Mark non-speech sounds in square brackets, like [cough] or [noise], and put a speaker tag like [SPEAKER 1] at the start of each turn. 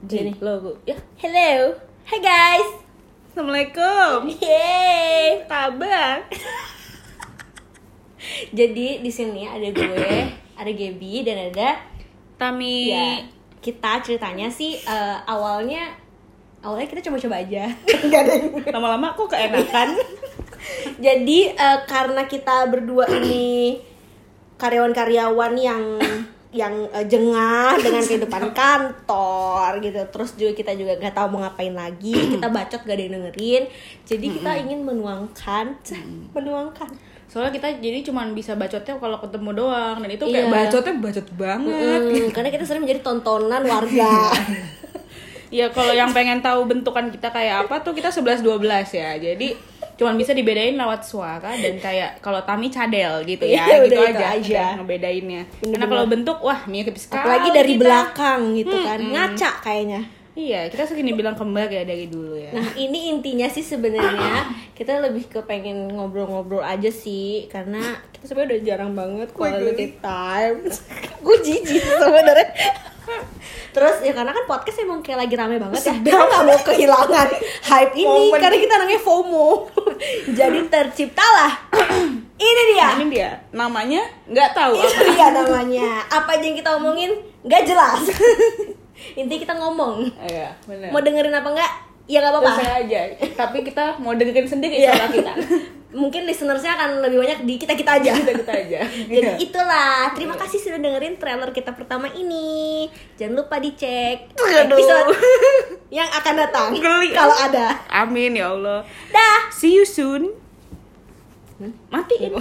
[SPEAKER 1] Jadi logo. Ya, hello. Hi guys.
[SPEAKER 2] Assalamualaikum.
[SPEAKER 1] Yeay.
[SPEAKER 2] Tabang.
[SPEAKER 1] Jadi di sini ada gue, ada Gaby dan ada
[SPEAKER 2] Tami.
[SPEAKER 1] ya kita ceritanya sih eh, awalnya awalnya kita coba-coba aja. Enggak ada. yang-
[SPEAKER 2] Lama-lama kok keenakan.
[SPEAKER 1] Jadi eh, karena kita berdua ini karyawan-karyawan yang yang eh, jengah dengan kehidupan kantor gitu. Terus juga kita juga nggak tahu mau ngapain lagi. Kita bacot gak ada yang dengerin. Jadi kita ingin menuangkan, Cah, menuangkan.
[SPEAKER 2] Soalnya kita jadi cuman bisa bacotnya kalau ketemu doang dan itu kayak
[SPEAKER 1] Iya.
[SPEAKER 2] bacotnya bacot banget.
[SPEAKER 1] Mm, karena kita sering menjadi tontonan warga.
[SPEAKER 2] Ya kalau yang pengen tahu bentukan kita kayak apa tuh kita 11 12 ya. Jadi cuman bisa dibedain lewat suara dan kayak kalau Tami cadel gitu ya,
[SPEAKER 1] Iya,
[SPEAKER 2] gitu
[SPEAKER 1] udah itu
[SPEAKER 2] aja,
[SPEAKER 1] aja.
[SPEAKER 2] udah ngebedainnya. Karena
[SPEAKER 1] Bener-bener.
[SPEAKER 2] kalau bentuk wah mirip sekali.
[SPEAKER 1] Apalagi dari
[SPEAKER 2] kita.
[SPEAKER 1] belakang gitu kan, ngaca kayaknya.
[SPEAKER 2] Iya, kita segini bilang kembar ya dari dulu ya.
[SPEAKER 1] Nah ini intinya sih sebenarnya kita lebih ke pengen ngobrol-ngobrol aja sih karena kita sebenarnya udah jarang banget quality time. [laughs] Gue jijik sebenarnya. Terus ya karena kan podcast emang kayak lagi rame banget ya. Kita nggak mau kehilangan hype ini
[SPEAKER 2] Momen.
[SPEAKER 1] karena kita namanya FOMO. [laughs] Jadi terciptalah ini dia.
[SPEAKER 2] Ini dia namanya nggak tahu apa.
[SPEAKER 1] Itu dia namanya. Apa aja yang kita omongin nggak jelas. [laughs] Intinya kita ngomong.
[SPEAKER 2] Iya, benar.
[SPEAKER 1] Mau dengerin apa nggak? Ya nggak apa-apa.
[SPEAKER 2] Terserah aja. Tapi kita mau dengerin sendiri
[SPEAKER 1] Iya.
[SPEAKER 2] suara kita.
[SPEAKER 1] mungkin listenersnya akan lebih banyak di kita kita aja
[SPEAKER 2] [laughs] Kita kita aja.
[SPEAKER 1] [laughs]
[SPEAKER 2] Iya.
[SPEAKER 1] jadi itulah terima kasih sudah dengerin trailer kita pertama ini jangan lupa dicek
[SPEAKER 2] Aduh.
[SPEAKER 1] episode [laughs] yang akan datang
[SPEAKER 2] Geli.
[SPEAKER 1] kalau ada
[SPEAKER 2] Amin ya Allah.
[SPEAKER 1] dah
[SPEAKER 2] Hmm? See you soon. Matiin.